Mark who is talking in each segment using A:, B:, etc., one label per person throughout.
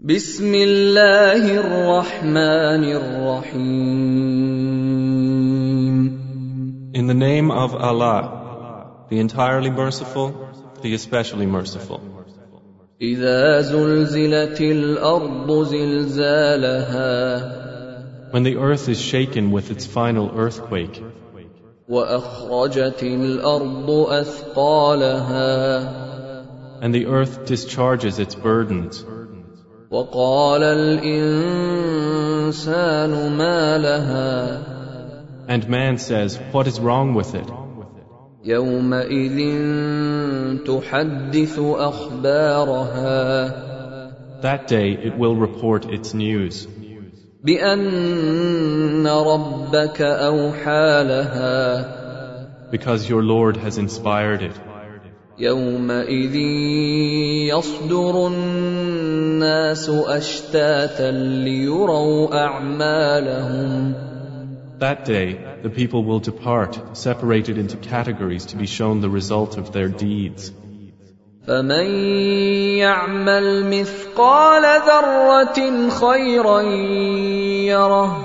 A: بسم الله الرحمن الرحيم
B: In the name of Allah, the entirely merciful, the especially merciful.
A: إذا زلزلت الأرض زلزالها
B: When the earth is shaken with its final earthquake,
A: وأخرجت الأرض أثقالها
B: and the earth discharges its burdens,
A: وقال الإنسان ما لها
B: and man says, What is wrong with it?
A: يومئذ تحدث أخبارها
B: That day it will report its news,
A: بأن ربك أوحى لها
B: because your Lord has inspired it.
A: يومئذ يصدر الناس أشتاتا ليروا أعمالهم
B: That day the people will depart, separated into categories to be shown the result of their deeds.
A: فمن يعمل مثقال ذرة خيرا يره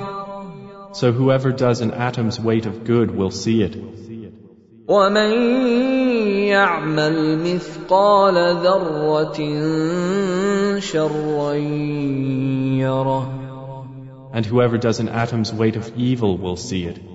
B: So whoever does an atom's weight of good will see it.
A: ومن يعمل مثقال ذرة شرا يره
B: And whoever does an atom's weight of evil will see it.